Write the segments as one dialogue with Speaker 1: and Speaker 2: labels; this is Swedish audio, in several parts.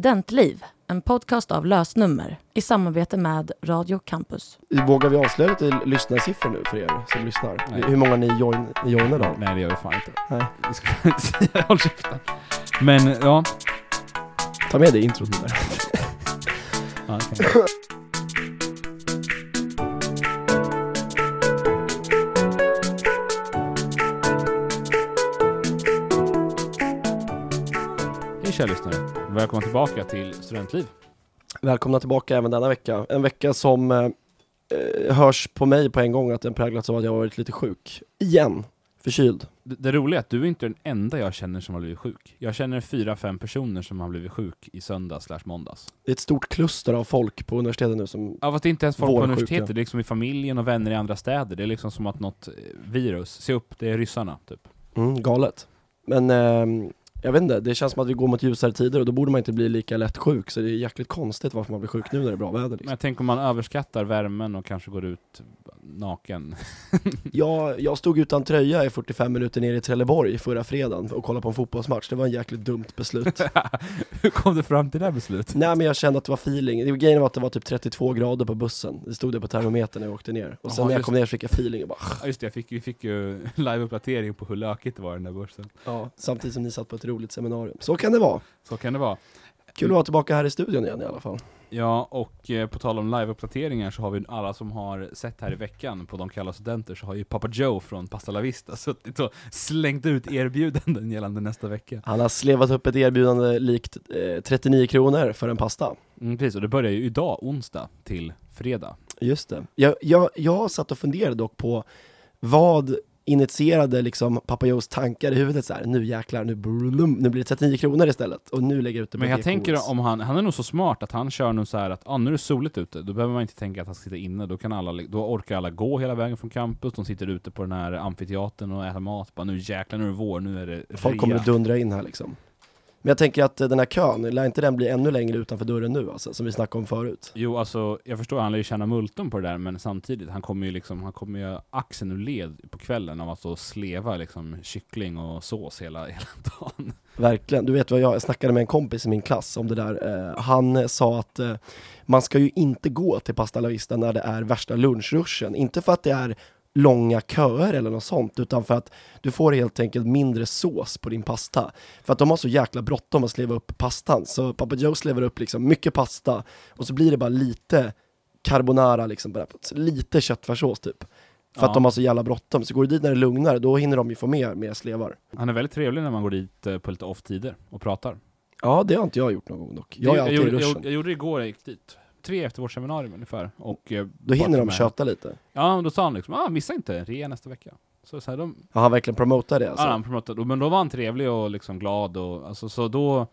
Speaker 1: Studentliv, en podcast av lösnummer i samarbete med Radio Campus.
Speaker 2: Vågar vi avslöja lite lyssnarsiffror nu för er som lyssnar?
Speaker 3: Nej.
Speaker 2: Hur många ni join, ni joinar då?
Speaker 3: Nej det gör vi fan inte.
Speaker 2: Nej.
Speaker 3: Det ska jag inte säga, håll käften. Men ja.
Speaker 2: Ta med det i introt där.
Speaker 3: ja okej. Hej kära lyssnare. Välkomna tillbaka till Studentliv.
Speaker 2: Välkomna tillbaka även denna vecka. En vecka som eh, eh, hörs på mig på en gång att den präglats av att jag har varit lite sjuk. Igen. Förkyld.
Speaker 3: Det, det roliga är att du är inte den enda jag känner som har blivit sjuk. Jag känner fyra, fem personer som har blivit sjuk i söndags slash måndags.
Speaker 2: Det är ett stort kluster av folk på universitetet nu som...
Speaker 3: Ja fast det är inte ens folk på
Speaker 2: Vårsjuka.
Speaker 3: universitetet, det är liksom i familjen och vänner i andra städer. Det är liksom som att något eh, virus, se upp, det är ryssarna typ.
Speaker 2: Mm, galet. Men eh, jag vet inte, det känns som att vi går mot ljusare tider och då borde man inte bli lika lätt sjuk. Så det är jäkligt konstigt varför man blir sjuk nu när det är bra väder.
Speaker 3: Men
Speaker 2: Liksom.
Speaker 3: jag tänker om man överskattar värmen och kanske går ut naken.
Speaker 2: Jag, jag stod utan tröja i 45 minuter nere i Trelleborg förra fredagen och kollade på en fotbollsmatch. Det var en jäkligt dumt beslut.
Speaker 3: Hur kom du fram till det här beslutet?
Speaker 2: Nej men jag kände att det var feeling, Det- grejen var att det var typ 32 grader på bussen, det stod det på termometern när jag åkte ner Och sen
Speaker 3: Jaha,
Speaker 2: när jag
Speaker 3: just
Speaker 2: kom ner så fick jag feeling och bara
Speaker 3: Ja just det, jag fick, vi fick ju liveuppdatering på hur lökigt det var i den där börsen.
Speaker 2: ja. Samtidigt som ni satt på ett roligt seminarium, så kan det vara!
Speaker 3: Så kan det vara.
Speaker 2: Kul att vara tillbaka här i studion igen i alla fall
Speaker 3: Ja, och eh, på tal om liveuppdateringar så har vi alla som har sett här i veckan på De kalla studenter så har ju Papa Joe från Pasta La Vista suttit och slängt ut erbjudanden gällande nästa vecka.
Speaker 2: Han har slevat upp ett erbjudande likt eh, 39 kronor för en pasta
Speaker 3: Mm, precis, och det börjar ju idag, onsdag, till fredag.
Speaker 2: Just det, jag, jag, jag satt och funderade dock på vad initierade liksom Papa Joes tankar i huvudet så här. nu jäklar, nu, blum, nu blir det 39 kronor istället och nu lägger jag ut det på
Speaker 3: Men jag
Speaker 2: GKs.
Speaker 3: tänker om han, han är nog så smart att han kör nog så här att ah, nu är det soligt ute, då behöver man inte tänka att han ska sitta inne, då, kan alla, då orkar alla gå hela vägen från campus, de sitter ute på den här amfiteatern och äter mat, bara nu jäklar nu är det vår, nu är det
Speaker 2: Folk kommer att dundra in här liksom. Men jag tänker att eh, den här kön, lär inte den bli ännu längre utanför dörren nu alltså, som vi snackade om förut?
Speaker 3: Jo, alltså jag förstår, han lär ju tjäna multum på det där, men samtidigt, han kommer ju liksom, han kommer ju axeln ur led på kvällen av att stå och sleva liksom kyckling och sås hela, hela dagen.
Speaker 2: Verkligen. Du vet vad jag, jag snackade med en kompis i min klass om det där. Eh, han eh, sa att eh, man ska ju inte gå till Pasta La Vista när det är värsta lunchruschen. Inte för att det är långa köer eller något sånt, utan för att du får helt enkelt mindre sås på din pasta. För att de har så jäkla bråttom att sleva upp pastan. Så Papa Joe slevar upp liksom mycket pasta och så blir det bara lite carbonara, liksom, bara lite köttfärssås typ. För
Speaker 3: Ja.
Speaker 2: att de har så jävla bråttom. Så går du dit när det är lugnare, då hinner de ju få mer, mer slevar.
Speaker 3: Han är väldigt trevlig när man går dit eh, på lite off-tider och pratar.
Speaker 2: Ja, det har inte jag gjort någon gång dock. Jag är alltid i
Speaker 3: gjorde,
Speaker 2: ruschen.
Speaker 3: jag, jag gjorde det igår, jag gick dit. Tre efter vårt seminarium ungefär. Och, eh,
Speaker 2: Då hinner
Speaker 3: bara
Speaker 2: de
Speaker 3: med-
Speaker 2: köta lite.
Speaker 3: Ja, och då sa han liksom ah, missa inte rea nästa vecka. Så, så här, de,
Speaker 2: Ja, han verkligen promotar det
Speaker 3: alltså.
Speaker 2: alltså.
Speaker 3: han promotade, men då var han trevlig och liksom glad och alltså, så då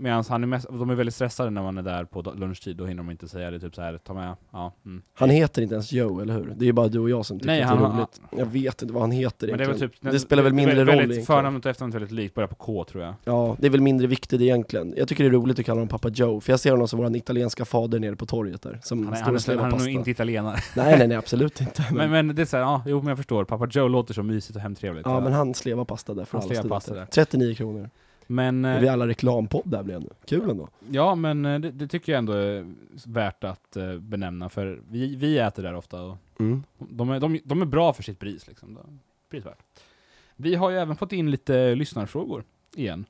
Speaker 3: Medan han är mest, de är väldigt stressade när man är där på da- lunchtid, då hinner de inte säga det typ så här, ta med, ja, mm.
Speaker 2: Han heter inte ens Joe, eller hur? Det är ju bara du och jag som tycker
Speaker 3: Nej,
Speaker 2: att det är
Speaker 3: han-
Speaker 2: roligt. Jag vet inte vad han heter
Speaker 3: Men det, är
Speaker 2: egentligen.
Speaker 3: väl typ,
Speaker 2: det spelar väl
Speaker 3: är
Speaker 2: mindre
Speaker 3: väldigt,
Speaker 2: roll
Speaker 3: Väldigt
Speaker 2: egentligen.
Speaker 3: förnamnet och efternamnet är väldigt likt, börjar på K tror jag.
Speaker 2: Ja, det är väl mindre viktigt egentligen. Jag tycker det är roligt att kalla honom pappa Joe, för jag ser honom som vår italienska fader nere på torget där. Som
Speaker 3: Han är,
Speaker 2: står
Speaker 3: han
Speaker 2: och
Speaker 3: är,
Speaker 2: slevar
Speaker 3: han är nog
Speaker 2: Mm, pasta.
Speaker 3: inte italienare.
Speaker 2: Nej, nej, nej, absolut inte. Men,
Speaker 3: men, men det är såhär, ja, jo men jag förstår, pappa Joe låter så mysigt och hemtrevligt.
Speaker 2: ja, men han slevar pasta där för
Speaker 3: Han
Speaker 2: alla
Speaker 3: slevar
Speaker 2: studenter.
Speaker 3: pasta där.
Speaker 2: 39 kronor.
Speaker 3: men eh,
Speaker 2: Och vi är alla reklampodd där blev nu. Kul ändå.
Speaker 3: Ja, men eh, det, det tycker jag ändå är värt att eh, benämna, för vi, vi äter där ofta och
Speaker 2: Mm.
Speaker 3: de är, de, de är bra för sitt pris. Liksom. De- Prisvärt. Vi har ju även fått in lite eh, lyssnarfrågor igen.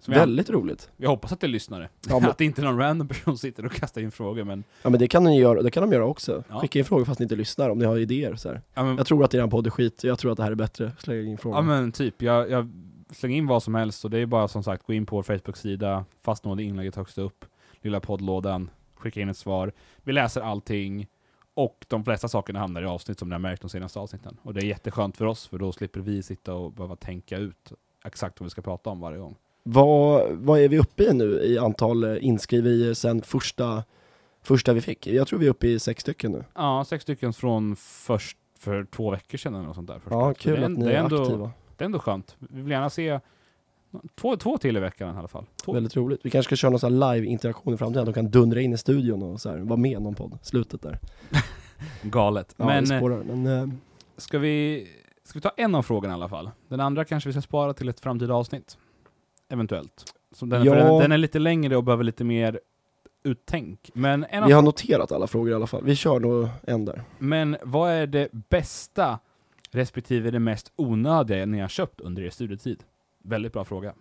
Speaker 3: Som jag,
Speaker 2: Väldigt roligt.
Speaker 3: jag hoppas att det är lyssnare.
Speaker 2: Ja, men-
Speaker 3: Att det inte är någon random person som sitter och kastar in frågor, men,
Speaker 2: Ja men det kan, ni göra, det kan de göra också.
Speaker 3: Ja.
Speaker 2: Skicka in frågor fast ni inte lyssnar om ni har idéer och så här.
Speaker 3: ja, men,
Speaker 2: Jag tror att eran podd är skit, jag tror att det här är bättre. Släng in frågor.
Speaker 3: ja, men typ, jag, jag slänger in vad som helst och det är bara som sagt, gå in på vår Facebook-sida, fastnående inlägget högst upp, lilla poddlådan, skicka in ett svar. Vi läser allting. Och de flesta sakerna hamnar i avsnitt som ni har märkt de senaste avsnitten. Och det är jätteskönt för oss, för då slipper vi sitta och behöva tänka ut exakt vad vi ska prata om varje gång.
Speaker 2: Vad, vad är vi uppe i nu i antal eh, inskriverier sen första, första vi fick? Jag tror vi är uppe i sex stycken nu.
Speaker 3: Ja, sex stycken från först för två veckor sedan eller något sånt där. förstås.
Speaker 2: Ja,
Speaker 3: Så det
Speaker 2: kul att
Speaker 3: en-
Speaker 2: ni
Speaker 3: det
Speaker 2: är
Speaker 3: ändå,
Speaker 2: aktiva.
Speaker 3: Det är ändå skönt. Vi vill gärna se två, två till i veckan i alla fall. Två.
Speaker 2: Väldigt roligt. Vi kanske ska köra någon sån här live-interaktion i framtiden, de kan dundra in i studion och så här, vara med i någon podd. Slutet där.
Speaker 3: Galet.
Speaker 2: Ja,
Speaker 3: Men
Speaker 2: vi spårar. Men, eh,
Speaker 3: eh, ska vi, ska vi ta en av frågorna i alla fall? Den andra kanske vi ska spara till ett framtida avsnitt. Eventuellt. Som den, är-
Speaker 2: Ja.
Speaker 3: för den, den är lite längre och behöver lite mer uttänk. Men, en av,
Speaker 2: Vi har noterat alla frågor i alla fall. Vi kör nog en där.
Speaker 3: men vad är det bästa respektive det mest onödiga ni har köpt under er studietid? Väldigt bra fråga.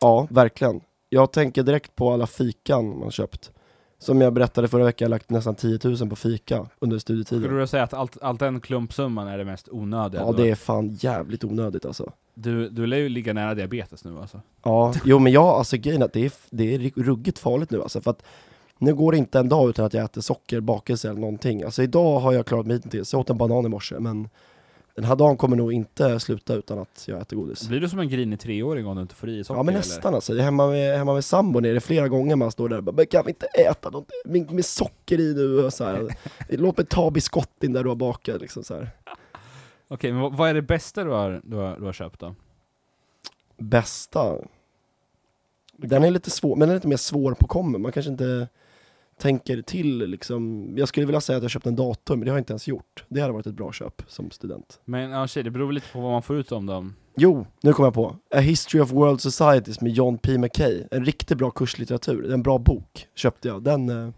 Speaker 2: Ja, verkligen. Jag tänker direkt på alla fikan man köpt. Som jag berättade förra veckan, jag har lagt nästan 10 000 på fika under
Speaker 3: Skulle
Speaker 2: studietiden.
Speaker 3: du säga att allt, allt den klumpsumman är det mest onödiga?
Speaker 2: Ja,
Speaker 3: du,
Speaker 2: det är fan jävligt onödigt alltså.
Speaker 3: du, du lär ju ligga nära diabetes nu alltså.
Speaker 2: Ja, jo men jag, alltså grejen är att det är, det är ruggigt farligt nu alltså. För att nu går det inte en dag utan att jag äter socker, bakelse eller någonting. Alltså idag har jag klarat mig hittills. Jag åt en banan i morse, men den här dagen kommer nog inte sluta utan att jag äter godis.
Speaker 3: Blir du som en grinig treåring om du inte får i socker?
Speaker 2: Ja men
Speaker 3: eller?
Speaker 2: nästan alltså, Jag är hemma med, hemma med sambon är det flera gånger man står där och bara, "Men kan vi inte äta något med, med socker i nu? Och så här. Låt mig ta biskotten där du har bakat liksom så här.
Speaker 3: Okej, men vad- vad är det bästa du har, du har, du har köpt då?
Speaker 2: Bästa? Den är lite svår, men den är lite mer svårpåkommen, man kanske inte tänker till liksom. Jag skulle vilja säga att jag köpt en dator, men det har jag inte ens gjort. Det hade varit ett bra köp som student.
Speaker 3: Men ja, tjej, det beror väl lite på vad man får ut om dem.
Speaker 2: Jo, nu kommer jag på. A History of World Societies med John P. McKay. En riktigt bra kurslitteratur, en bra bok köpte jag. Den, eh,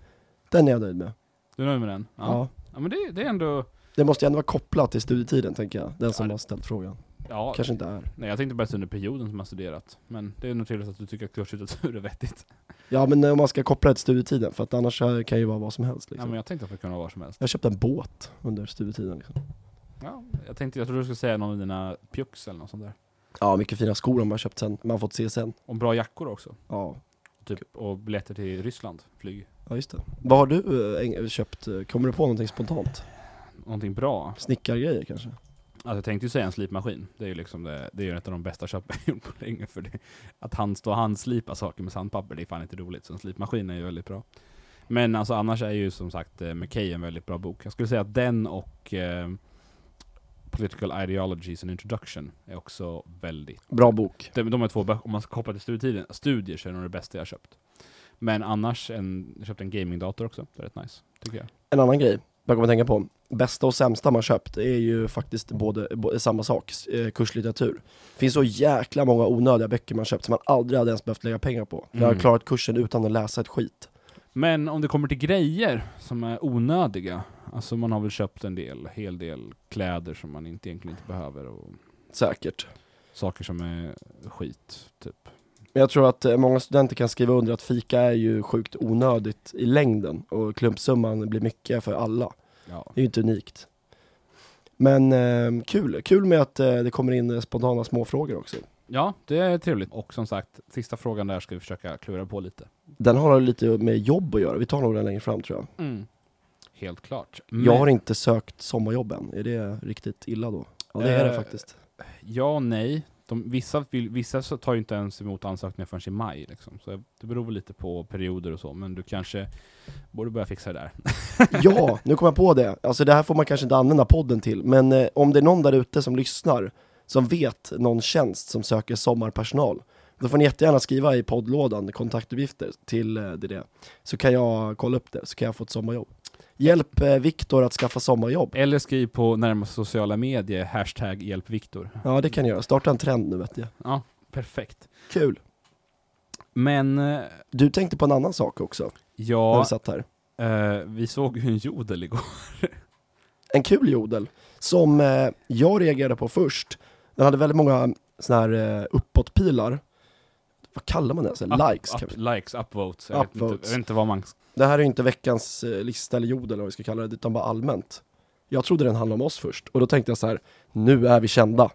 Speaker 2: den är jag nöjd med.
Speaker 3: Du är nöjd med den?
Speaker 2: ja.
Speaker 3: Ja men det, det är ändå...
Speaker 2: Det måste ju ändå vara kopplat till studietiden tänker jag, den som
Speaker 3: Ja, det-
Speaker 2: har ställt frågan.
Speaker 3: Ja,
Speaker 2: Kanske inte är.
Speaker 3: nej jag tänkte bäst under perioden som man studerat. Men det är nog trevligt att du tycker att kurslitteratur är vettigt.
Speaker 2: Ja men eh, om man ska koppla det till studietiden, för att annars kan det ju vara vad som helst
Speaker 3: Ja
Speaker 2: liksom.
Speaker 3: men
Speaker 2: jag...
Speaker 3: jag tänkte att det kunde vara vad som helst.
Speaker 2: köpte en båt under studietiden liksom.
Speaker 3: Ja, jag tänkte, jag trodde du skulle säga någon av dina pjucks eller något sånt där.
Speaker 2: Ja, mycket fina skor har man köpt sen, man har fått se sen.
Speaker 3: Och bra jackor också.
Speaker 2: Ja,
Speaker 3: Typ, och biljetter till Ryssland, flyg.
Speaker 2: ja just det. Vad har du eh, äng- köpt, eh, kommer du på någonting spontant?
Speaker 3: Någonting bra.
Speaker 2: Snickargrejer kanske?
Speaker 3: Alltså jag tänkte ju säga en slipmaskin. Det är ju liksom det, det är ju ett av de bästa köpen jag gjort på länge. För det, att hand stå och handslipa saker med sandpapper, det är fan inte roligt. Så en slipmaskin är ju väldigt bra. Men alltså annars är ju som sagt eh, McKay en väldigt bra bok. Jag skulle säga att den och eh, Political Ideologies and Introduction är också väldigt...
Speaker 2: Bra bok.
Speaker 3: De, de är två böcker, om man ska koppla till studietiden, studier så är de det bästa jag har köpt. Men annars, en, jag köpte en gamingdator också. Det är rätt nice, tycker jag.
Speaker 2: En annan grej, jag kommer att tänka på. Bästa och sämsta man köpt är ju faktiskt både, bo- samma sak, s- eh, kurslitteratur. Det finns så jäkla många onödiga böcker man köpt som man aldrig hade ens behövt lägga pengar på. Jag har
Speaker 3: Mm.
Speaker 2: klarat kursen utan att läsa ett skit.
Speaker 3: Men om det kommer till grejer som är onödiga, alltså man har väl köpt en del, hel del kläder som man inte, egentligen inte behöver och
Speaker 2: Säkert.
Speaker 3: saker som är skit, typ.
Speaker 2: Men jag tror att eh, många studenter kan skriva under att fika är ju sjukt onödigt i längden och klumpsumman blir mycket för alla.
Speaker 3: Ja.
Speaker 2: Det är ju inte unikt. Men eh, kul, kul med att eh, det kommer in eh, spontana småfrågor också.
Speaker 3: ja, det är trevligt. Och som sagt, sista frågan där ska vi försöka klura på lite.
Speaker 2: Den har lite med jobb att göra, vi tar nog den längre fram tror jag.
Speaker 3: Helt klart.
Speaker 2: Jag har inte sökt sommarjobb än, är det riktigt illa då? Ja det är det
Speaker 3: Eh,
Speaker 2: faktiskt.
Speaker 3: Ja och nej. De, vissa, vill, vissa så tar ju inte ens emot ansökningar förrän i maj. Liksom. Så det beror väl lite på perioder och så, men du kanske borde börja fixa det där.
Speaker 2: Ja, nu kom jag på det. Alltså det här får man kanske inte använda podden till, men eh, om det är någon där ute som lyssnar som vet någon tjänst som söker sommarpersonal, då får ni jättegärna skriva i poddlådan kontaktuppgifter till eh, det, där. så kan jag kolla upp det, så kan jag få ett sommarjobb. Hjälp eh, Viktor att skaffa sommarjobb.
Speaker 3: Eller skriv på närmaste sociala medier, hashtag hjälpviktor.
Speaker 2: Ja, det kan jag göra. Starta en trend nu vet jag.
Speaker 3: Ja, perfekt.
Speaker 2: Kul.
Speaker 3: Men eh,
Speaker 2: Du tänkte på en annan sak också, när
Speaker 3: ja,
Speaker 2: vi satt här.
Speaker 3: eh, vi såg ju en jodel igår.
Speaker 2: en kul jodel som eh, jag reagerade på först. Den hade väldigt många såna här eh, uppåtpilar. Vad kallar man det? Så här, Alltså, likes?
Speaker 3: up,
Speaker 2: kanske.
Speaker 3: likes, upvotes. Jag, Vet inte,
Speaker 2: Upvotes.
Speaker 3: jag vet inte vad man...
Speaker 2: Det här är ju inte veckans eh, lista eller jodel eller vad vi ska kalla det, utan bara allmänt. Jag trodde den handlade om oss först och då tänkte jag så här, nu är vi kända.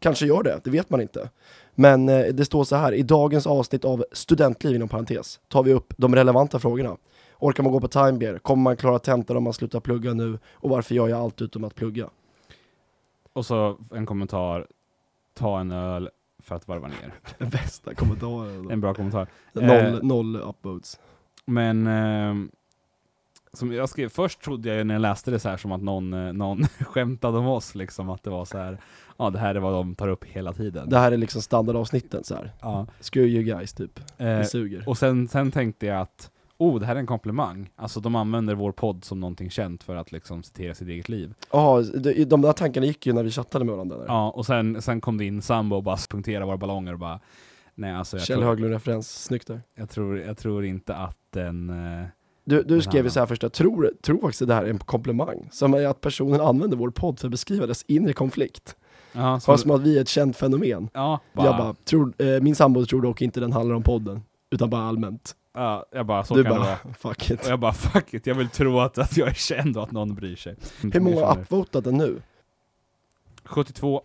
Speaker 2: Kanske gör det, det vet man inte. Men eh, det står så här, i dagens avsnitt av Studentliv inom parentes tar vi upp de relevanta frågorna. Orkar man gå på timebeer? Kommer man klara tentan om man slutar plugga nu? Och varför gör jag allt utom att plugga?
Speaker 3: Och så en kommentar, ta en öl för att varva ner.
Speaker 2: Den bästa kommentaren.
Speaker 3: En bra kommentar.
Speaker 2: Noll,
Speaker 3: Eh,
Speaker 2: noll upvotes.
Speaker 3: Men ehm, som jag skrev, först trodde jag ju när jag läste det så här som att någon, eh, någon skämtade om oss liksom, att det var så här, ja det här är vad de tar upp hela tiden.
Speaker 2: Det här är liksom standardavsnitten så här.
Speaker 3: Ja,
Speaker 2: Screw you guys typ, det
Speaker 3: eh,
Speaker 2: suger.
Speaker 3: och sen, sen tänkte jag att, oh det här är en komplimang. Alltså de använder vår podd som någonting känt för att liksom citera sitt eget liv.
Speaker 2: Ja, de, de där tankarna gick ju när vi chattade med varandra där.
Speaker 3: Ja, och sen, sen kom det in sambo och bara punktera våra ballonger och bara Nej, alltså jag,
Speaker 2: Kjell
Speaker 3: tror,
Speaker 2: Höglund-referens, snyggt där.
Speaker 3: jag, tror, jag tror inte att den... eh,
Speaker 2: Du, du
Speaker 3: Den
Speaker 2: skrev ju
Speaker 3: här.
Speaker 2: så här först, jag tror, tror faktiskt att det här är en komplimang. Som är att personen använder vår podd för att beskriva dess inre konflikt.
Speaker 3: Ja, som,
Speaker 2: Som, som att vi är ett känt fenomen.
Speaker 3: ja,
Speaker 2: Jag bara, tror, eh, min sambo tror dock inte den handlar om podden, utan bara allmänt.
Speaker 3: ja, jag bara, så
Speaker 2: du
Speaker 3: kan det
Speaker 2: bara,
Speaker 3: vara.
Speaker 2: fuck it.
Speaker 3: Och jag bara, fuck it, jag vill tro att, att jag är känd och att någon bryr sig.
Speaker 2: Hur många
Speaker 3: Jag
Speaker 2: har
Speaker 3: känner-
Speaker 2: upvotat den nu?
Speaker 3: 72.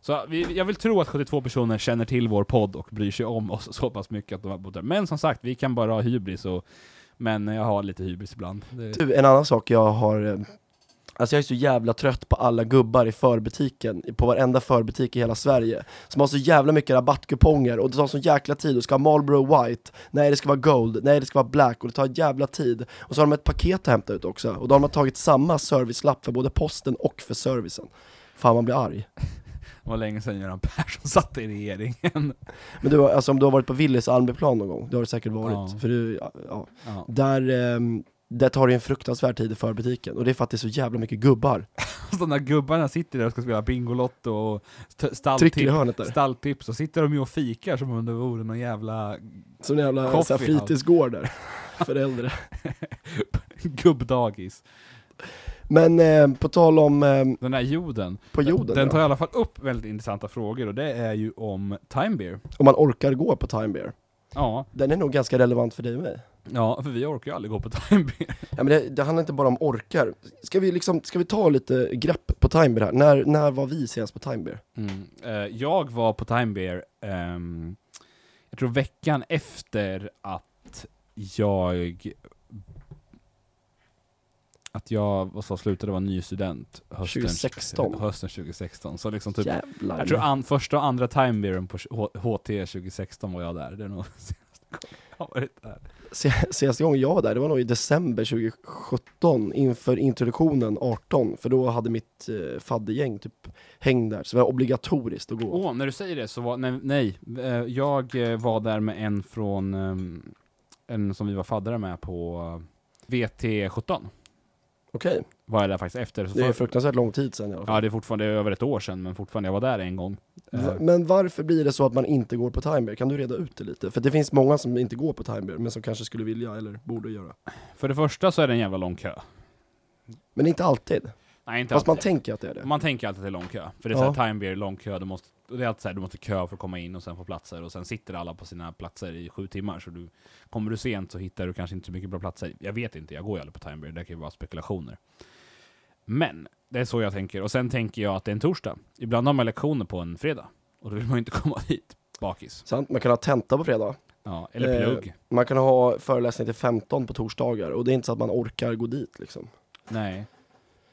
Speaker 3: Så vi, jag vill tro att 72 personer känner till vår podd och bryr sig om oss så pass mycket att de har bott där. Men som sagt, vi kan bara ha hybris och... Men jag har lite hybris ibland. Det,
Speaker 2: Du, en annan sak jag har... eh, Alltså jag är så jävla trött på alla gubbar i förbutiken, på varenda förbutik i hela Sverige. Som har så jävla mycket rabattkuponger och det tar så jäkla tid och ska ha Marlboro White, nej det ska vara Gold, nej det ska vara Black och det tar jävla tid. Och så har de ett paket att hämta ut också och då har de tagit samma servicelapp för både posten och för servicen. Fan man blir arg.
Speaker 3: det var länge sedan Göran Persson satt i regeringen.
Speaker 2: Men du, har- alltså om du har varit på Willys Almeplan någon gång, det har du säkert varit.
Speaker 3: Ja.
Speaker 2: För du, ja, ja.
Speaker 3: Ja.
Speaker 2: Där, ehm, där tar det en fruktansvärd tid i förbutiken och det är för att det är så jävla mycket gubbar.
Speaker 3: Och de där gubbarna sitter där och ska spela Bingolotto och st-
Speaker 2: Trycker i
Speaker 3: stalltips,
Speaker 2: hörnet där.
Speaker 3: stalltips och sitter de ju och fikar som om det vore någon jävla
Speaker 2: Som en jävla
Speaker 3: Coffee
Speaker 2: så här, fritidsgård där, för äldre.
Speaker 3: gubbdagis.
Speaker 2: Men eh, på tal om, eh,
Speaker 3: Den här jorden,
Speaker 2: på jorden,
Speaker 3: den tar i
Speaker 2: ja.
Speaker 3: alla fall upp väldigt intressanta frågor och det är ju om time beer.
Speaker 2: om man orkar gå på Time Bear.
Speaker 3: Ja,
Speaker 2: Den är nog ganska relevant för dig och mig.
Speaker 3: ja för vi orkar ju aldrig gå på time beer.
Speaker 2: Ja, men det, det handlar inte bara om orkar. Ska vi, liksom, ska vi ta lite grepp på Time Bear här? När, när var vi senast på Time Bear?
Speaker 3: Mm. Eh, jag var på time beer, ehm, jag tror veckan efter att jag att jag vad sa, slutade vara ny student hösten
Speaker 2: 2016.
Speaker 3: hösten 2016. Så liksom typ
Speaker 2: Jävlar.
Speaker 3: Jag tror an, första och andra timebeeren på H- HT 2016 var jag där. Det är nog senaste gången jag har varit där.
Speaker 2: Se- Senaste gången jag var där, det var nog i december 2017 inför introduktionen 18, för då hade mitt eh, faddergäng typ häng där, så det var obligatoriskt att gå.
Speaker 3: Åh, när du säger det så var, nej, nej eh, jag eh, var där med en från, ehm, en som vi var faddare med på eh, VT17.
Speaker 2: Okej,
Speaker 3: Var jag där faktiskt efter. Så
Speaker 2: det är
Speaker 3: för,
Speaker 2: fruktansvärt lång tid sedan i alla fall.
Speaker 3: ja, det är fortfarande över ett år sedan, men fortfarande, jag var där en gång. Eh,
Speaker 2: Va- Men varför blir det så att man inte går på timer? Kan du reda ut det lite? För det finns många som inte går på timer, men som kanske skulle vilja eller borde göra.
Speaker 3: för det första så är det en jävla lång kö.
Speaker 2: Men inte alltid.
Speaker 3: Nej, inte
Speaker 2: Fast man
Speaker 3: alltid.
Speaker 2: tänker att det är det.
Speaker 3: Man tänker alltid att det är lång kö, för det är
Speaker 2: Ja.
Speaker 3: såhär time beer, lång kö, du måste, och det är alltid såhär, du måste kö för att komma in och sen få platser, och sen sitter alla på sina platser i sju timmar, så du, kommer du sent så hittar du kanske inte så mycket bra platser. Jag vet inte, jag går ju aldrig på time beer, det kan ju vara spekulationer. Men, det är så jag tänker, och sen tänker jag att det är en torsdag. Ibland har man lektioner på en fredag, och då vill man ju inte komma hit bakis.
Speaker 2: Sant? Man kan ha tenta på fredag.
Speaker 3: Ja, eller
Speaker 2: Eh,
Speaker 3: plugg.
Speaker 2: Man kan ha föreläsning till 15 på torsdagar och det är inte så att man orkar gå dit liksom.
Speaker 3: Nej.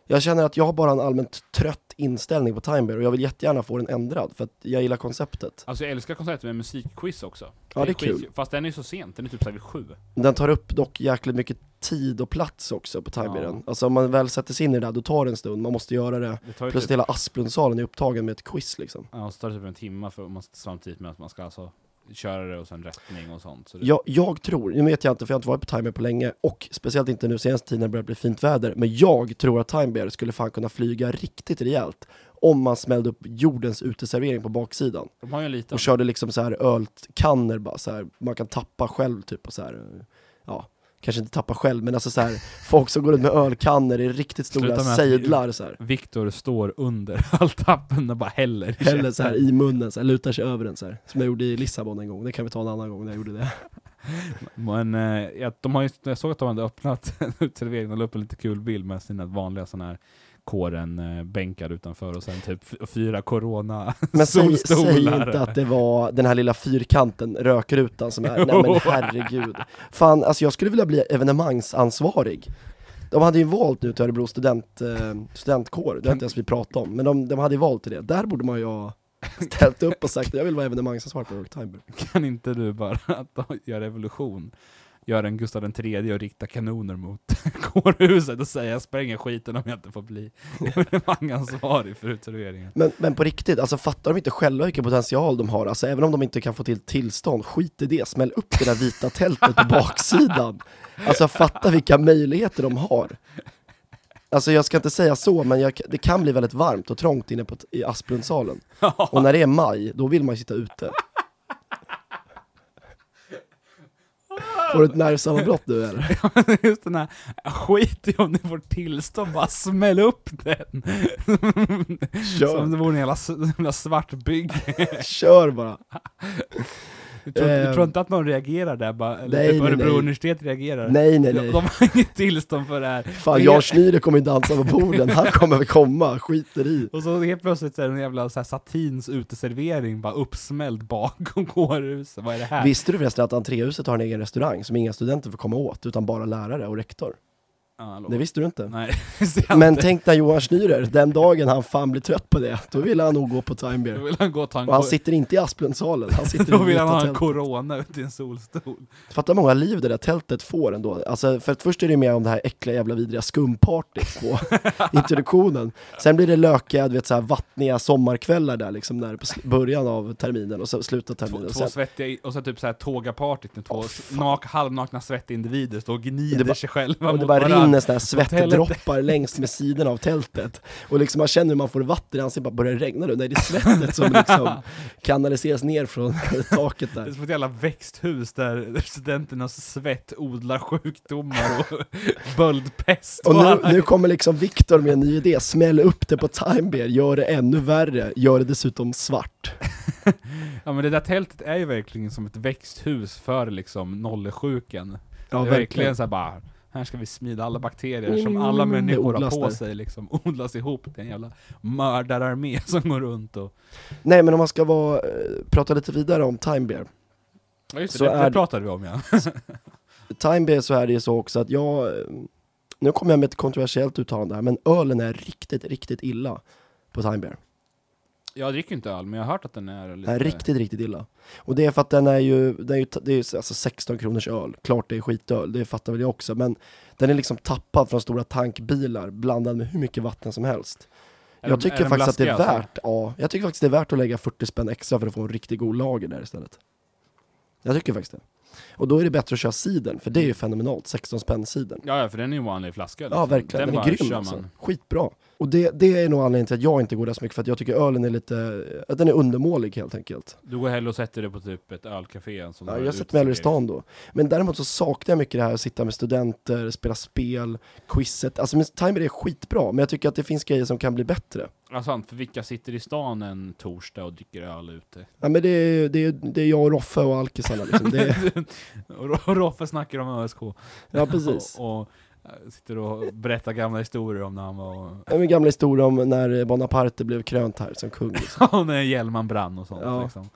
Speaker 2: Jag känner att jag har bara en allmänt trött inställning på timer och jag vill jättegärna få den ändrad för att jag gillar konceptet.
Speaker 3: Alltså jag älskar konserter med musikquiz också.
Speaker 2: Ja, det är
Speaker 3: skit-
Speaker 2: kul.
Speaker 3: Fast den är ju så sent, den är typ såhär vid sju.
Speaker 2: Den tar upp dock jäkligt mycket tid och plats också på timern.
Speaker 3: Ja.
Speaker 2: Alltså om man väl sätter sig in i det där, då tar det en stund, man måste göra det.
Speaker 3: Det tar ju
Speaker 2: Plus att
Speaker 3: typ,
Speaker 2: hela Asplundsalen är upptagen med ett quiz liksom.
Speaker 3: Ja, och så tar det typ en timme för man, samtidigt med att man ska alltså köra det och sen rättning och sånt. Så det,
Speaker 2: Jag, jag tror, nu vet jag inte för jag har inte varit på Time Bear på länge och speciellt inte nu senaste tiden när det börjar bli fint väder, men jag tror att Time Bear skulle fan kunna flyga riktigt rejält om man smällde upp jordens uteservering på baksidan
Speaker 3: De har ju en liten.
Speaker 2: och körde liksom så här ölkanner bara så här, man kan tappa själv typ och så här, ja, kanske inte tappa själv men alltså så här, folk som går ut med ölkanner i riktigt stora
Speaker 3: Sluta med att-
Speaker 2: sejdlar så här,
Speaker 3: Viktor står under all tappen och bara häller. i
Speaker 2: häller så
Speaker 3: käften.
Speaker 2: här i munnen, så här, lutar sig över den så här, som jag gjorde i Lissabon en gång, det kan vi ta en annan gång när jag gjorde det.
Speaker 3: Men eh, jag- de har ju, jag såg att de hade öppnat en utservering och la upp en lite kul bild med sina vanliga sådana här kåren-bänkar utanför och sen typ f- fyra corona
Speaker 2: Men säg,
Speaker 3: solstolar.
Speaker 2: säg inte att det var den här lilla fyrkanten, rökrutan som är, nej men herregud. Fan, alltså jag skulle vilja bli evenemangsansvarig. De hade ju valt nu till Örebro student, eh, studentkår, det har inte ens vi pratat om, men de, de hade ju valt till det. Där borde man ju ha ställt upp och sagt jag vill vara evenemangsansvarig på Rocktimer.
Speaker 3: Kan inte du bara att de gör revolution? Gör en Gustav den tredje och rikta kanoner mot kårhuset och säga jag spränger skiten om jag inte får bli evenemangsansvarig för utserveringen.
Speaker 2: Men, men på riktigt, alltså fattar de inte själva vilken potential de har? Alltså även om de inte kan få till tillstånd, skit i det, smäll upp det där vita tältet på baksidan. Alltså fatta vilka möjligheter de har. Alltså jag ska inte säga så, men jag, det kan bli väldigt varmt och trångt inne på, t- i Asplundsalen. Och när det är maj, då vill man ju sitta ute. Får du ett nervsammanbrott nu eller?
Speaker 3: Just den här, skit i om ni får tillstånd, bara smäll upp den! Som
Speaker 2: Kör,
Speaker 3: det vore en jävla, s- jävla svart bygg.
Speaker 2: kör bara!
Speaker 3: Du tror, du
Speaker 2: Ehm.
Speaker 3: tror inte att någon reagerar där bara? Eller
Speaker 2: Nej,
Speaker 3: typ
Speaker 2: nej,
Speaker 3: Örebro
Speaker 2: nej.
Speaker 3: universitet reagerar?
Speaker 2: Nej nej
Speaker 3: De,
Speaker 2: nej.
Speaker 3: de har inget tillstånd för det här.
Speaker 2: Fan,
Speaker 3: Det är-
Speaker 2: Jan Schneider kommer ju dansa på borden, han kommer väl komma, skiter i.
Speaker 3: Och så helt plötsligt så är det en jävla så här, satins uteservering bara uppsmälld bakom kårhuset. Vad är det här?
Speaker 2: Visste du förresten att entréhuset har en egen restaurang som inga studenter får komma åt, utan bara lärare och rektor?
Speaker 3: Ja, hallå.
Speaker 2: Det visste du inte.
Speaker 3: Nej, visste jag
Speaker 2: Men
Speaker 3: inte.
Speaker 2: tänk när Johan Schneider, den dagen han fan blir trött på det, då vill han nog gå på Time
Speaker 3: Då
Speaker 2: Beer.
Speaker 3: vill han gå och ta en
Speaker 2: Och han
Speaker 3: kor-
Speaker 2: sitter inte i Asplundsalen, han sitter i
Speaker 3: Då vill han ha en
Speaker 2: Vita tält.
Speaker 3: corona ute i en solstol.
Speaker 2: Fatta många liv det där tältet får ändå. Alltså, för att först är det med om det här äckliga jävla vidriga skumpartyt på introduktionen. Sen blir det lökiga, du vet så här vattniga sommarkvällar där liksom, när på s- början av terminen och sen slutet av
Speaker 3: Två,
Speaker 2: terminen.
Speaker 3: två
Speaker 2: Sen,
Speaker 3: svettiga, i- och så typ såhär tågapartyt när två
Speaker 2: Åh,
Speaker 3: s-
Speaker 2: fan.
Speaker 3: nak, halvnakna svettiga individer står och gnider
Speaker 2: Det bara-
Speaker 3: sig själva
Speaker 2: och
Speaker 3: mot
Speaker 2: det bara
Speaker 3: varandra.
Speaker 2: rinner sådana här
Speaker 3: Hotellet.
Speaker 2: svettdroppar längs med sidan av tältet. Och liksom man känner hur man får vatten i ansiktet, bara börjar det regna nu? Nej, det är svettet som liksom kanaliseras ner från taket
Speaker 3: Det är
Speaker 2: där.
Speaker 3: som ett jävla växthus där studenternas svett odlar sjukdomar och böldpest.
Speaker 2: Och nu,
Speaker 3: alla-
Speaker 2: nu kommer liksom Viktor med en ny idé, smäll upp det på Time Beer, gör det ännu värre, gör det dessutom svart.
Speaker 3: Ja men det där tältet är ju verkligen som ett växthus för liksom nollesjukan.
Speaker 2: Ja,
Speaker 3: det är verkligen såhär bara, här ska vi smida alla bakterier
Speaker 2: Mm,
Speaker 3: som alla
Speaker 2: mm, mm,
Speaker 3: människor har
Speaker 2: odlas
Speaker 3: på
Speaker 2: där.
Speaker 3: sig liksom, odlas ihop. Det är en jävla mördararmé som går runt och...
Speaker 2: Nej men om man ska vara, eh, prata lite vidare om Time Beer.
Speaker 3: Ja just det,
Speaker 2: Så
Speaker 3: det, det
Speaker 2: är-
Speaker 3: pratade vi om ja.
Speaker 2: Time Beer så är det ju så också att jag, eh, nu kommer jag med ett kontroversiellt uttalande här, men ölen är riktigt, riktigt illa på Time Beer.
Speaker 3: Jag dricker inte öl, men jag har hört att den är lite...
Speaker 2: Den är riktigt, riktigt illa. Och det är för att den är ju, den är ju det är ju alltså 16 kronors öl, klart det är skitöl, det fattar väl jag också, men den är liksom tappad från stora tankbilar, blandad med hur mycket vatten som helst.
Speaker 3: Är
Speaker 2: jag
Speaker 3: de-
Speaker 2: tycker
Speaker 3: är de
Speaker 2: faktiskt att det är
Speaker 3: blaskiga, alltså?
Speaker 2: värt, ja, jag tycker faktiskt det är värt att lägga 40 spänn extra för att få en riktigt god lager där istället. Jag tycker faktiskt det. Och då är det bättre att köra sidern, för det är ju fenomenalt, 16 spänn sidern.
Speaker 3: Mm. Ja, ja, för den är ju en vanlig flaska. liksom.
Speaker 2: Ja verkligen, den,
Speaker 3: bara
Speaker 2: är grym
Speaker 3: kör
Speaker 2: alltså.
Speaker 3: man.
Speaker 2: Skitbra. Och det, det är nog anledningen till att jag inte går där så mycket, för att jag tycker ölen är lite, att den är undermålig helt enkelt.
Speaker 3: Du går hellre och sätter dig på typ ett ölcafé. Som de
Speaker 2: Ja,
Speaker 3: har
Speaker 2: jag sätter mig hellre i
Speaker 3: uteservering.
Speaker 2: stan då. Men däremot så saknar jag mycket det här att sitta med studenter, spela spel, quizet. Alltså men timer är skitbra, men jag tycker att det finns grejer som kan bli bättre.
Speaker 3: Ja, sant. För vilka sitter i stan en torsdag och dricker öl ute?
Speaker 2: Ja men det är, det är, det är jag och Roffe och alkisarna liksom. Det är,
Speaker 3: Och Ro- Roffe snackar om ÖSK.
Speaker 2: ja precis.
Speaker 3: och, och eh, sitter och berättar gamla historier om när han var...
Speaker 2: Ja, men gamla historia om när Bonaparte blev krönt här som kung. Liksom.
Speaker 3: och när Hjelman brann och sånt
Speaker 2: Ja.
Speaker 3: liksom.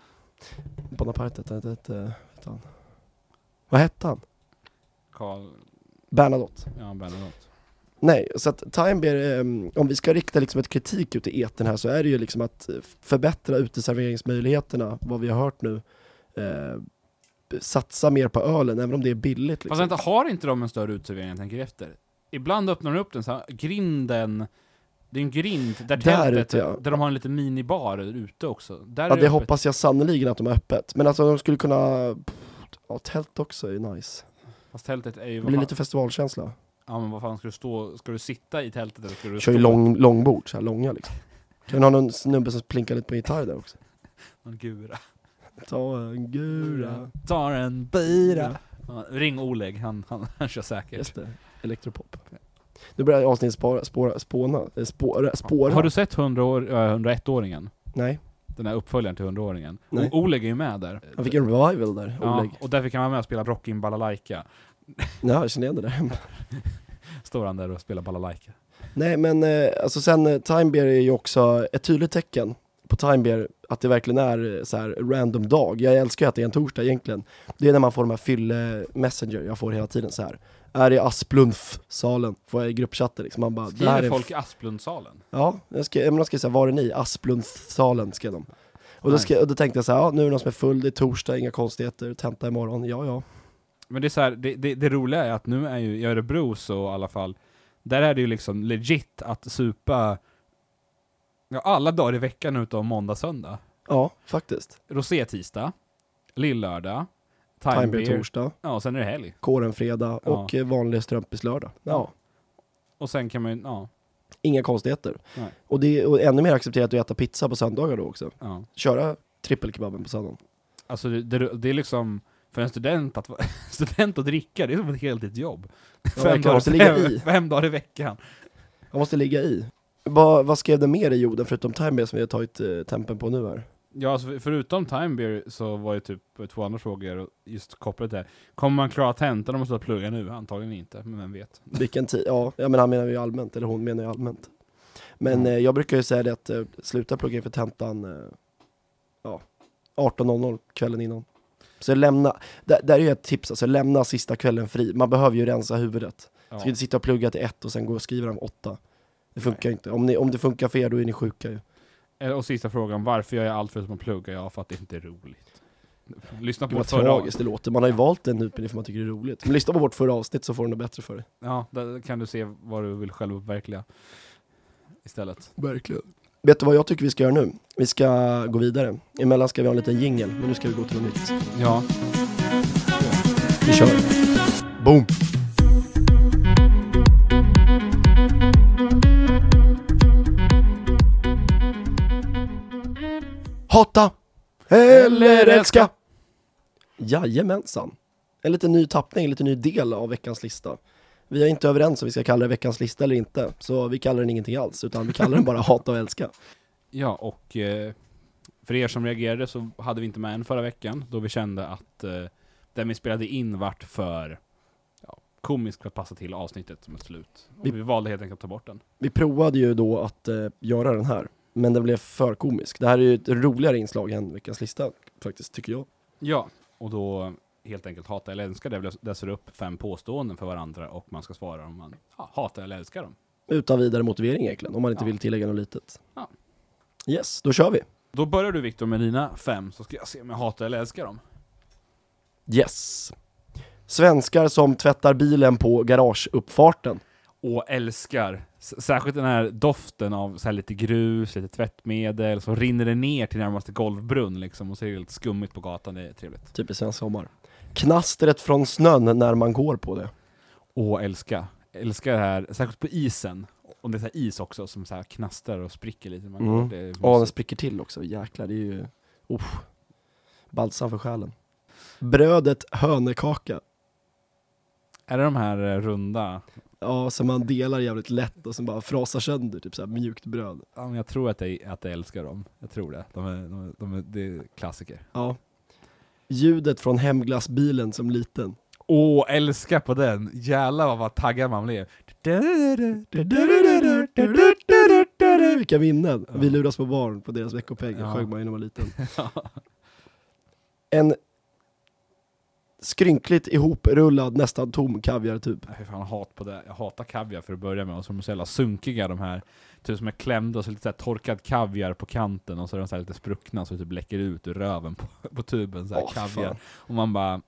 Speaker 2: Bonaparte, hette- hette- hette- hette han? Vad hette han?
Speaker 3: Karl...
Speaker 2: Bernadotte.
Speaker 3: Ja, Bernadotte.
Speaker 2: Nej, så att Time Beer, ehm, om vi ska rikta liksom ett kritik ut i etern här så är det ju liksom att eh, förbättra uteserveringsmöjligheterna, vad vi har hört nu. Eh, satsa mer på ölen, även om det är billigt.
Speaker 3: Fast
Speaker 2: Liksom.
Speaker 3: vänta, har inte de en större uteservering jag tänker efter? Ibland öppnar de upp den så här, grinden... Det är en grind där, tältet,
Speaker 2: ute, ja.
Speaker 3: där de har en liten minibar ute också. Där
Speaker 2: Ja,
Speaker 3: är
Speaker 2: det
Speaker 3: öppet.
Speaker 2: hoppas jag sannerligen att de har öppet. Men alltså de skulle kunna... Ja, tält också är ju nice.
Speaker 3: Fast tältet är ju...
Speaker 2: Det
Speaker 3: Vad
Speaker 2: blir
Speaker 3: fan,
Speaker 2: lite festivalkänsla.
Speaker 3: Ja men vad fan ska du stå... Ska du sitta i tältet eller ska du
Speaker 2: Kör ju
Speaker 3: stå?
Speaker 2: lång, långbord, så här långa liksom. Kan du ha någon snubbe som plinkar lite på gitarr där också?
Speaker 3: Någon gura.
Speaker 2: Ta en gura.
Speaker 3: Tar en bira. Ja, ring Oleg, han, han, han kör säkert.
Speaker 2: Just det, elektropop. Nu börjar avsnittet spara, spåra, spåna, eh, spåra, spåra.
Speaker 3: Har du sett 100 år, äh, 101-åringen?
Speaker 2: Nej,
Speaker 3: Den här uppföljaren till 100-åringen.
Speaker 2: Nej.
Speaker 3: O- Oleg är ju med där.
Speaker 2: han fick en revival där,
Speaker 3: Ja,
Speaker 2: Oleg.
Speaker 3: och där fick han vara med och spela Rockin' Balalaika.
Speaker 2: Ja, jag känner igen det där.
Speaker 3: Står han där och spelar balalaika.
Speaker 2: Nej men eh, alltså sen eh, Time Beer är ju också ett tydligt tecken på Time Beer att det verkligen är eh, så här random dag. Jag älskar ju att det är en torsdag egentligen. Det är när man får de här fylle messenger jag får hela tiden så här. Är i Asplundf-salen, får jag i gruppchatten liksom. Man bara, det här är
Speaker 3: Skriver
Speaker 2: en
Speaker 3: folk i Asplundsalen?
Speaker 2: Ja, jag skrev, men de skrev såhär, var är ni? Asplundssalen skrev de. Och då,
Speaker 3: Nice.
Speaker 2: skrev, och då tänkte jag såhär, ja, nu är det någon som är full, det är torsdag, inga konstigheter, tenta imorgon, ja ja.
Speaker 3: Men det är så här, det, det, det roliga är att nu är ju i Örebro så i alla fall, där är det ju liksom legit att supa ja, alla dagar i veckan utom måndag, söndag.
Speaker 2: Ja, faktiskt.
Speaker 3: Rosé-tisdag, lill-lördag, time,
Speaker 2: Time
Speaker 3: beer,
Speaker 2: beer torsdag,
Speaker 3: ja, och sen är det helg.
Speaker 2: kåren fredag
Speaker 3: Ja.
Speaker 2: och eh, vanlig strumpislördag. Ja,
Speaker 3: Och sen kan man ju, ja,
Speaker 2: inga konstigheter.
Speaker 3: Nej.
Speaker 2: Och, det är, och ännu mer accepterat att äta pizza på söndagar då också.
Speaker 3: ja.
Speaker 2: Köra trippelkebaben på söndagen.
Speaker 3: Alltså det, det, det är liksom, För en student att, vara- student att dricka, det är som ett heltidsjobb.
Speaker 2: verkligen,
Speaker 3: fem, dagar,
Speaker 2: måste ligga i.
Speaker 3: fem, fem dagar i veckan.
Speaker 2: Jag måste ligga i. Vad, vad skrev det mer i jorden förutom Time som vi har tagit eh, tempen på nu här?
Speaker 3: Ja, alltså för- förutom timebeer så var ju typ två andra frågor och just kopplat till det. här. Kommer man klara tentan om man slutar plugga nu? Antagligen inte, men vem vet.
Speaker 2: Vilken tid? Ja, ja, men han menar ju allmänt, eller hon menar ju allmänt. Men
Speaker 3: Mm.
Speaker 2: eh, jag brukar ju säga det att eh, sluta plugga inför tentan eh, ja, 18.00 kvällen innan. Så lämna, där, där är ju ett tips alltså, lämna sista kvällen fri. Man behöver ju rensa huvudet.
Speaker 3: Ja.
Speaker 2: Ska inte sitta och plugga till ett och sen gå och skriva om åtta. Det funkar
Speaker 3: Nej.
Speaker 2: inte. Om, ni, om det funkar för er, då är ni sjuka ju.
Speaker 3: Eh, Och sista frågan, varför gör jag allt förutom att plugga? Ja, för att det inte är roligt. Lyssna
Speaker 2: Det
Speaker 3: på
Speaker 2: var
Speaker 3: vårt förra
Speaker 2: tragiskt det låter. Man har ju valt en utbildning för man tycker det är roligt. Men lyssna på vårt förra avsnitt så får du något bättre för dig.
Speaker 3: Ja, där kan du se vad du vill själv uppverkliga istället.
Speaker 2: Verkligen. Vet du vad jag tycker vi ska göra nu? Vi ska gå vidare. Emellan ska vi ha en liten jingel, men nu ska vi gå till något nytt.
Speaker 3: Ja.
Speaker 2: Vi kör. Boom! Hata! Eller älska! Jajamensan. En liten ny tappning, en liten ny del av veckans lista. Vi är inte överens om vi ska kalla det veckans lista eller inte, så vi kallar den ingenting alls, utan vi kallar den bara hata och älska.
Speaker 3: Ja, och eh, för er som reagerade så hade vi inte med en förra veckan, då vi kände att eh, den vi spelade in vart för ja, komisk för att passa till avsnittet som ett slut. Och
Speaker 2: Vi-
Speaker 3: vi, valde helt enkelt att ta bort den.
Speaker 2: Vi provade ju då att eh, göra den här, men den blev för komisk. Det här är ju ett roligare inslag än Veckans lista, faktiskt, tycker jag.
Speaker 3: Ja, och då helt enkelt hata eller älska, där vi läser upp fem påståenden för varandra och man ska svara om man ja, hatar eller älskar dem.
Speaker 2: Utan vidare motivering egentligen, om man inte
Speaker 3: Ja.
Speaker 2: vill tillägga något litet.
Speaker 3: Ja.
Speaker 2: Yes, då kör vi.
Speaker 3: Då börjar du Viktor med dina fem, så ska jag se om jag hatar eller älskar dem.
Speaker 2: Yes. Svenskar som tvättar bilen på garageuppfarten.
Speaker 3: och älskar. S- Särskilt den här doften av så här lite grus, lite tvättmedel, så rinner det ner till närmaste golvbrunn liksom, och så är det lite skummigt på gatan, det är trevligt.
Speaker 2: Typiskt svensk sommar. Knastret från snön när man går på det.
Speaker 3: Och älska. Älskar det här, särskilt på isen. Om det är så här is också som så här knastrar och spricker lite. Man
Speaker 2: Mm.
Speaker 3: det är
Speaker 2: Ja, den
Speaker 3: mysigt.
Speaker 2: spricker till också. Jäklar, det är ju... Uff. Balsam för själen. Brödet hönekaka.
Speaker 3: är det de här eh, runda?
Speaker 2: Ja, som man delar jävligt lätt och sen bara frasar sönder, typ såhär mjukt bröd.
Speaker 3: Ja, men jag tror att jag, att jag älskar dem. Jag tror det. De är, de är, de är, det är klassiker.
Speaker 2: Ja. Ljudet från hemglassbilen som liten.
Speaker 3: Åh, älska på den! Jävlar vad- vad taggad man blev.
Speaker 2: Vilka minnen!
Speaker 3: Ja.
Speaker 2: Vi luras på barn på deras veckopeng,
Speaker 3: Ja.
Speaker 2: ja. sjöng man ju när man var liten. En skrynkligt ihoprullad, nästan tom typ. kaviartub.
Speaker 3: Nej, Fy fan, hat på det. Jag hatar kaviar för att börja med, och så är de så jävla sunkiga de här. Typ som är klämda och så lite så här torkad kaviar på kanten, och så är de så här lite spruckna, så det typ läcker ut ur röven på, på tuben. Så här
Speaker 2: Åh, fy
Speaker 3: kaviar.
Speaker 2: fan.
Speaker 3: Och man bara...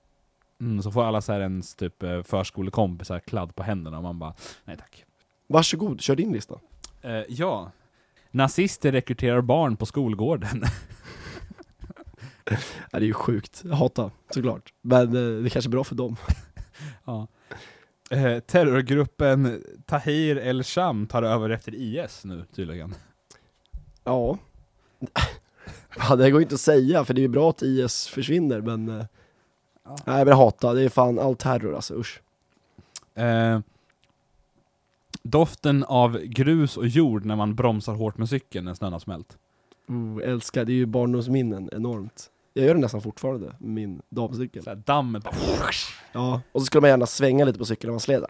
Speaker 3: Mm, så får alla så här ens typ eh, förskolekompisar kladd på händerna, och man bara nej tack.
Speaker 2: Varsågod, kör din lista.
Speaker 3: Eh, ja. Nazister rekryterar barn på skolgården.
Speaker 2: Ja, det är ju sjukt. Jag hatar, såklart. Men eh, det kanske är bra för dem.
Speaker 3: ja. eh, terrorgruppen Tahir El-Sham tar över efter IS nu tydligen.
Speaker 2: Ja. ja det går ju inte att säga, för det är ju bra att IS försvinner, men... eh,
Speaker 3: Ja.
Speaker 2: Nej, men jag hatar. Det är fan all terror alltså, usch.
Speaker 3: Eh, doften av grus och jord när man bromsar hårt med cykeln när snön har smält.
Speaker 2: Oh, älskar, det är ju barndomsminnen enormt. Jag gör det nästan fortfarande, med min damcykel.
Speaker 3: Såhär, dammet bara...
Speaker 2: Ja, och så skulle man gärna svänga lite på cykeln när man släder.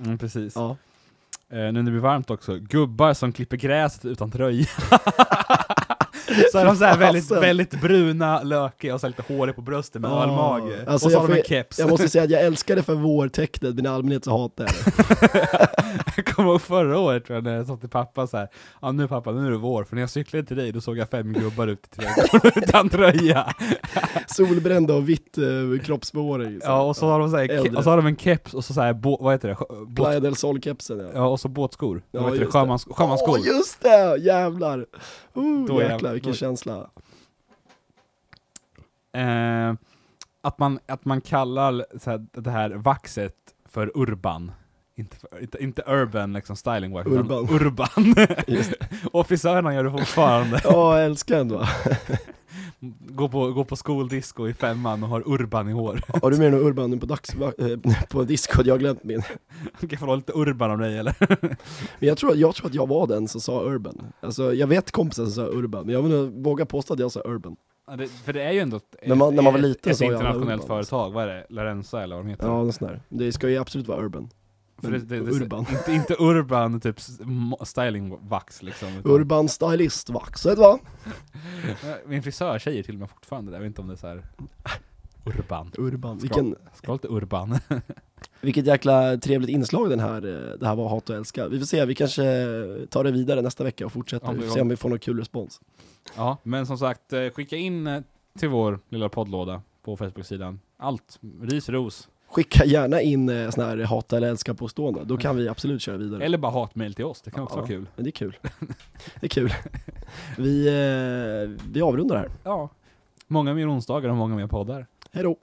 Speaker 3: Mm, precis.
Speaker 2: Ja.
Speaker 3: Eh, nu när det blir varmt också, gubbar som klipper gräset utan tröja. så är de såhär väldigt,
Speaker 2: Fasen.
Speaker 3: väldigt bruna, lökiga och så här lite håriga på bröstet med
Speaker 2: Ja.
Speaker 3: ölmage.
Speaker 2: Alltså,
Speaker 3: och så
Speaker 2: jag
Speaker 3: har de en
Speaker 2: får-
Speaker 3: keps.
Speaker 2: Jag måste säga att jag älskar det för vårtecknet, men i allmänhet så hatar jag det.
Speaker 3: Jag kommer ihåg förra året tror jag, när jag sa till pappa så här. Ja nu pappa, nu är det vår, för när jag cyklade till dig då såg jag fem gubbar ute i trädgården utan tröja.
Speaker 2: Solbrända och vitt eh, kroppsbehåring.
Speaker 3: Ja, och så har de, så här,
Speaker 2: Äldre.
Speaker 3: ke- och så har de en keps och så, så här, bo, vad heter det? Sjö- båt-
Speaker 2: Playa del Sol-kepsen ja.
Speaker 3: Ja, och så båtskor.
Speaker 2: Ja,
Speaker 3: vad heter det?
Speaker 2: just det.
Speaker 3: Sjömans, sjömansskor.
Speaker 2: Åh, just det! Jävlar! Oh,
Speaker 3: Då är jag-
Speaker 2: jäklar, vilken
Speaker 3: då-
Speaker 2: känsla.
Speaker 3: eh, att, man, att man kallar så här, det här vaxet för urban. Inte, för, inte, inte urban liksom styling wax, utan
Speaker 2: Urban.
Speaker 3: urban.
Speaker 2: Just det.
Speaker 3: och frisörerna gör det fortfarande.
Speaker 2: Ja, jag älskar ändå.
Speaker 3: Gå på, gå på skoldisco i femman och har Urban i hår.
Speaker 2: Har du med dig någon Urban nu på, dags, eh, på discord? Jag har glömt min.
Speaker 3: Kan jag få låna lite Urban om dig eller?
Speaker 2: Men jag tror, jag tror att jag var den som sa Urban. Alltså, jag vet kompisar som sa Urban, men jag vill nog våga påstå att jag sa Urban.
Speaker 3: Ja, det, för det är ju ändå ett,
Speaker 2: När man- när man var
Speaker 3: ett-
Speaker 2: liten
Speaker 3: ett
Speaker 2: så var jag
Speaker 3: internationellt
Speaker 2: Urban. alltså.
Speaker 3: företag, vad är det? Larenza eller vad de heter?
Speaker 2: Ja, något sånt där. Det ska ju absolut vara Urban.
Speaker 3: För det, det, det,
Speaker 2: Urban.
Speaker 3: Inte, inte Urban typ s- mo- stylingvax liksom. utan-
Speaker 2: Urban stylist vaxet va?
Speaker 3: Min frisör säger till mig fortfarande det, jag vet inte om det är så här. Urban.
Speaker 2: Urban. Vilken,
Speaker 3: Ska ha lite Urban.
Speaker 2: vilket jäkla trevligt inslag den här, eh, det här var Hat och älska. Vi får se, vi kanske tar det vidare nästa vecka och fortsätter.
Speaker 3: Ja,
Speaker 2: vi
Speaker 3: vi
Speaker 2: får
Speaker 3: var-
Speaker 2: se om vi får någon kul respons.
Speaker 3: Ja, men som sagt, eh, skicka in eh, till vår lilla poddlåda på Facebook-sidan. Allt. Ris, ros.
Speaker 2: Skicka gärna in eh, sån här hata eller älska påstående, då kan vi absolut köra vidare.
Speaker 3: Eller bara hatmejl till oss, det kan också
Speaker 2: Ja.
Speaker 3: vara kul.
Speaker 2: Men det är kul. Det är kul. Vi, eh, vi avrundar här.
Speaker 3: Ja. Många mer onsdagar och många mer poddar.
Speaker 2: Hej då!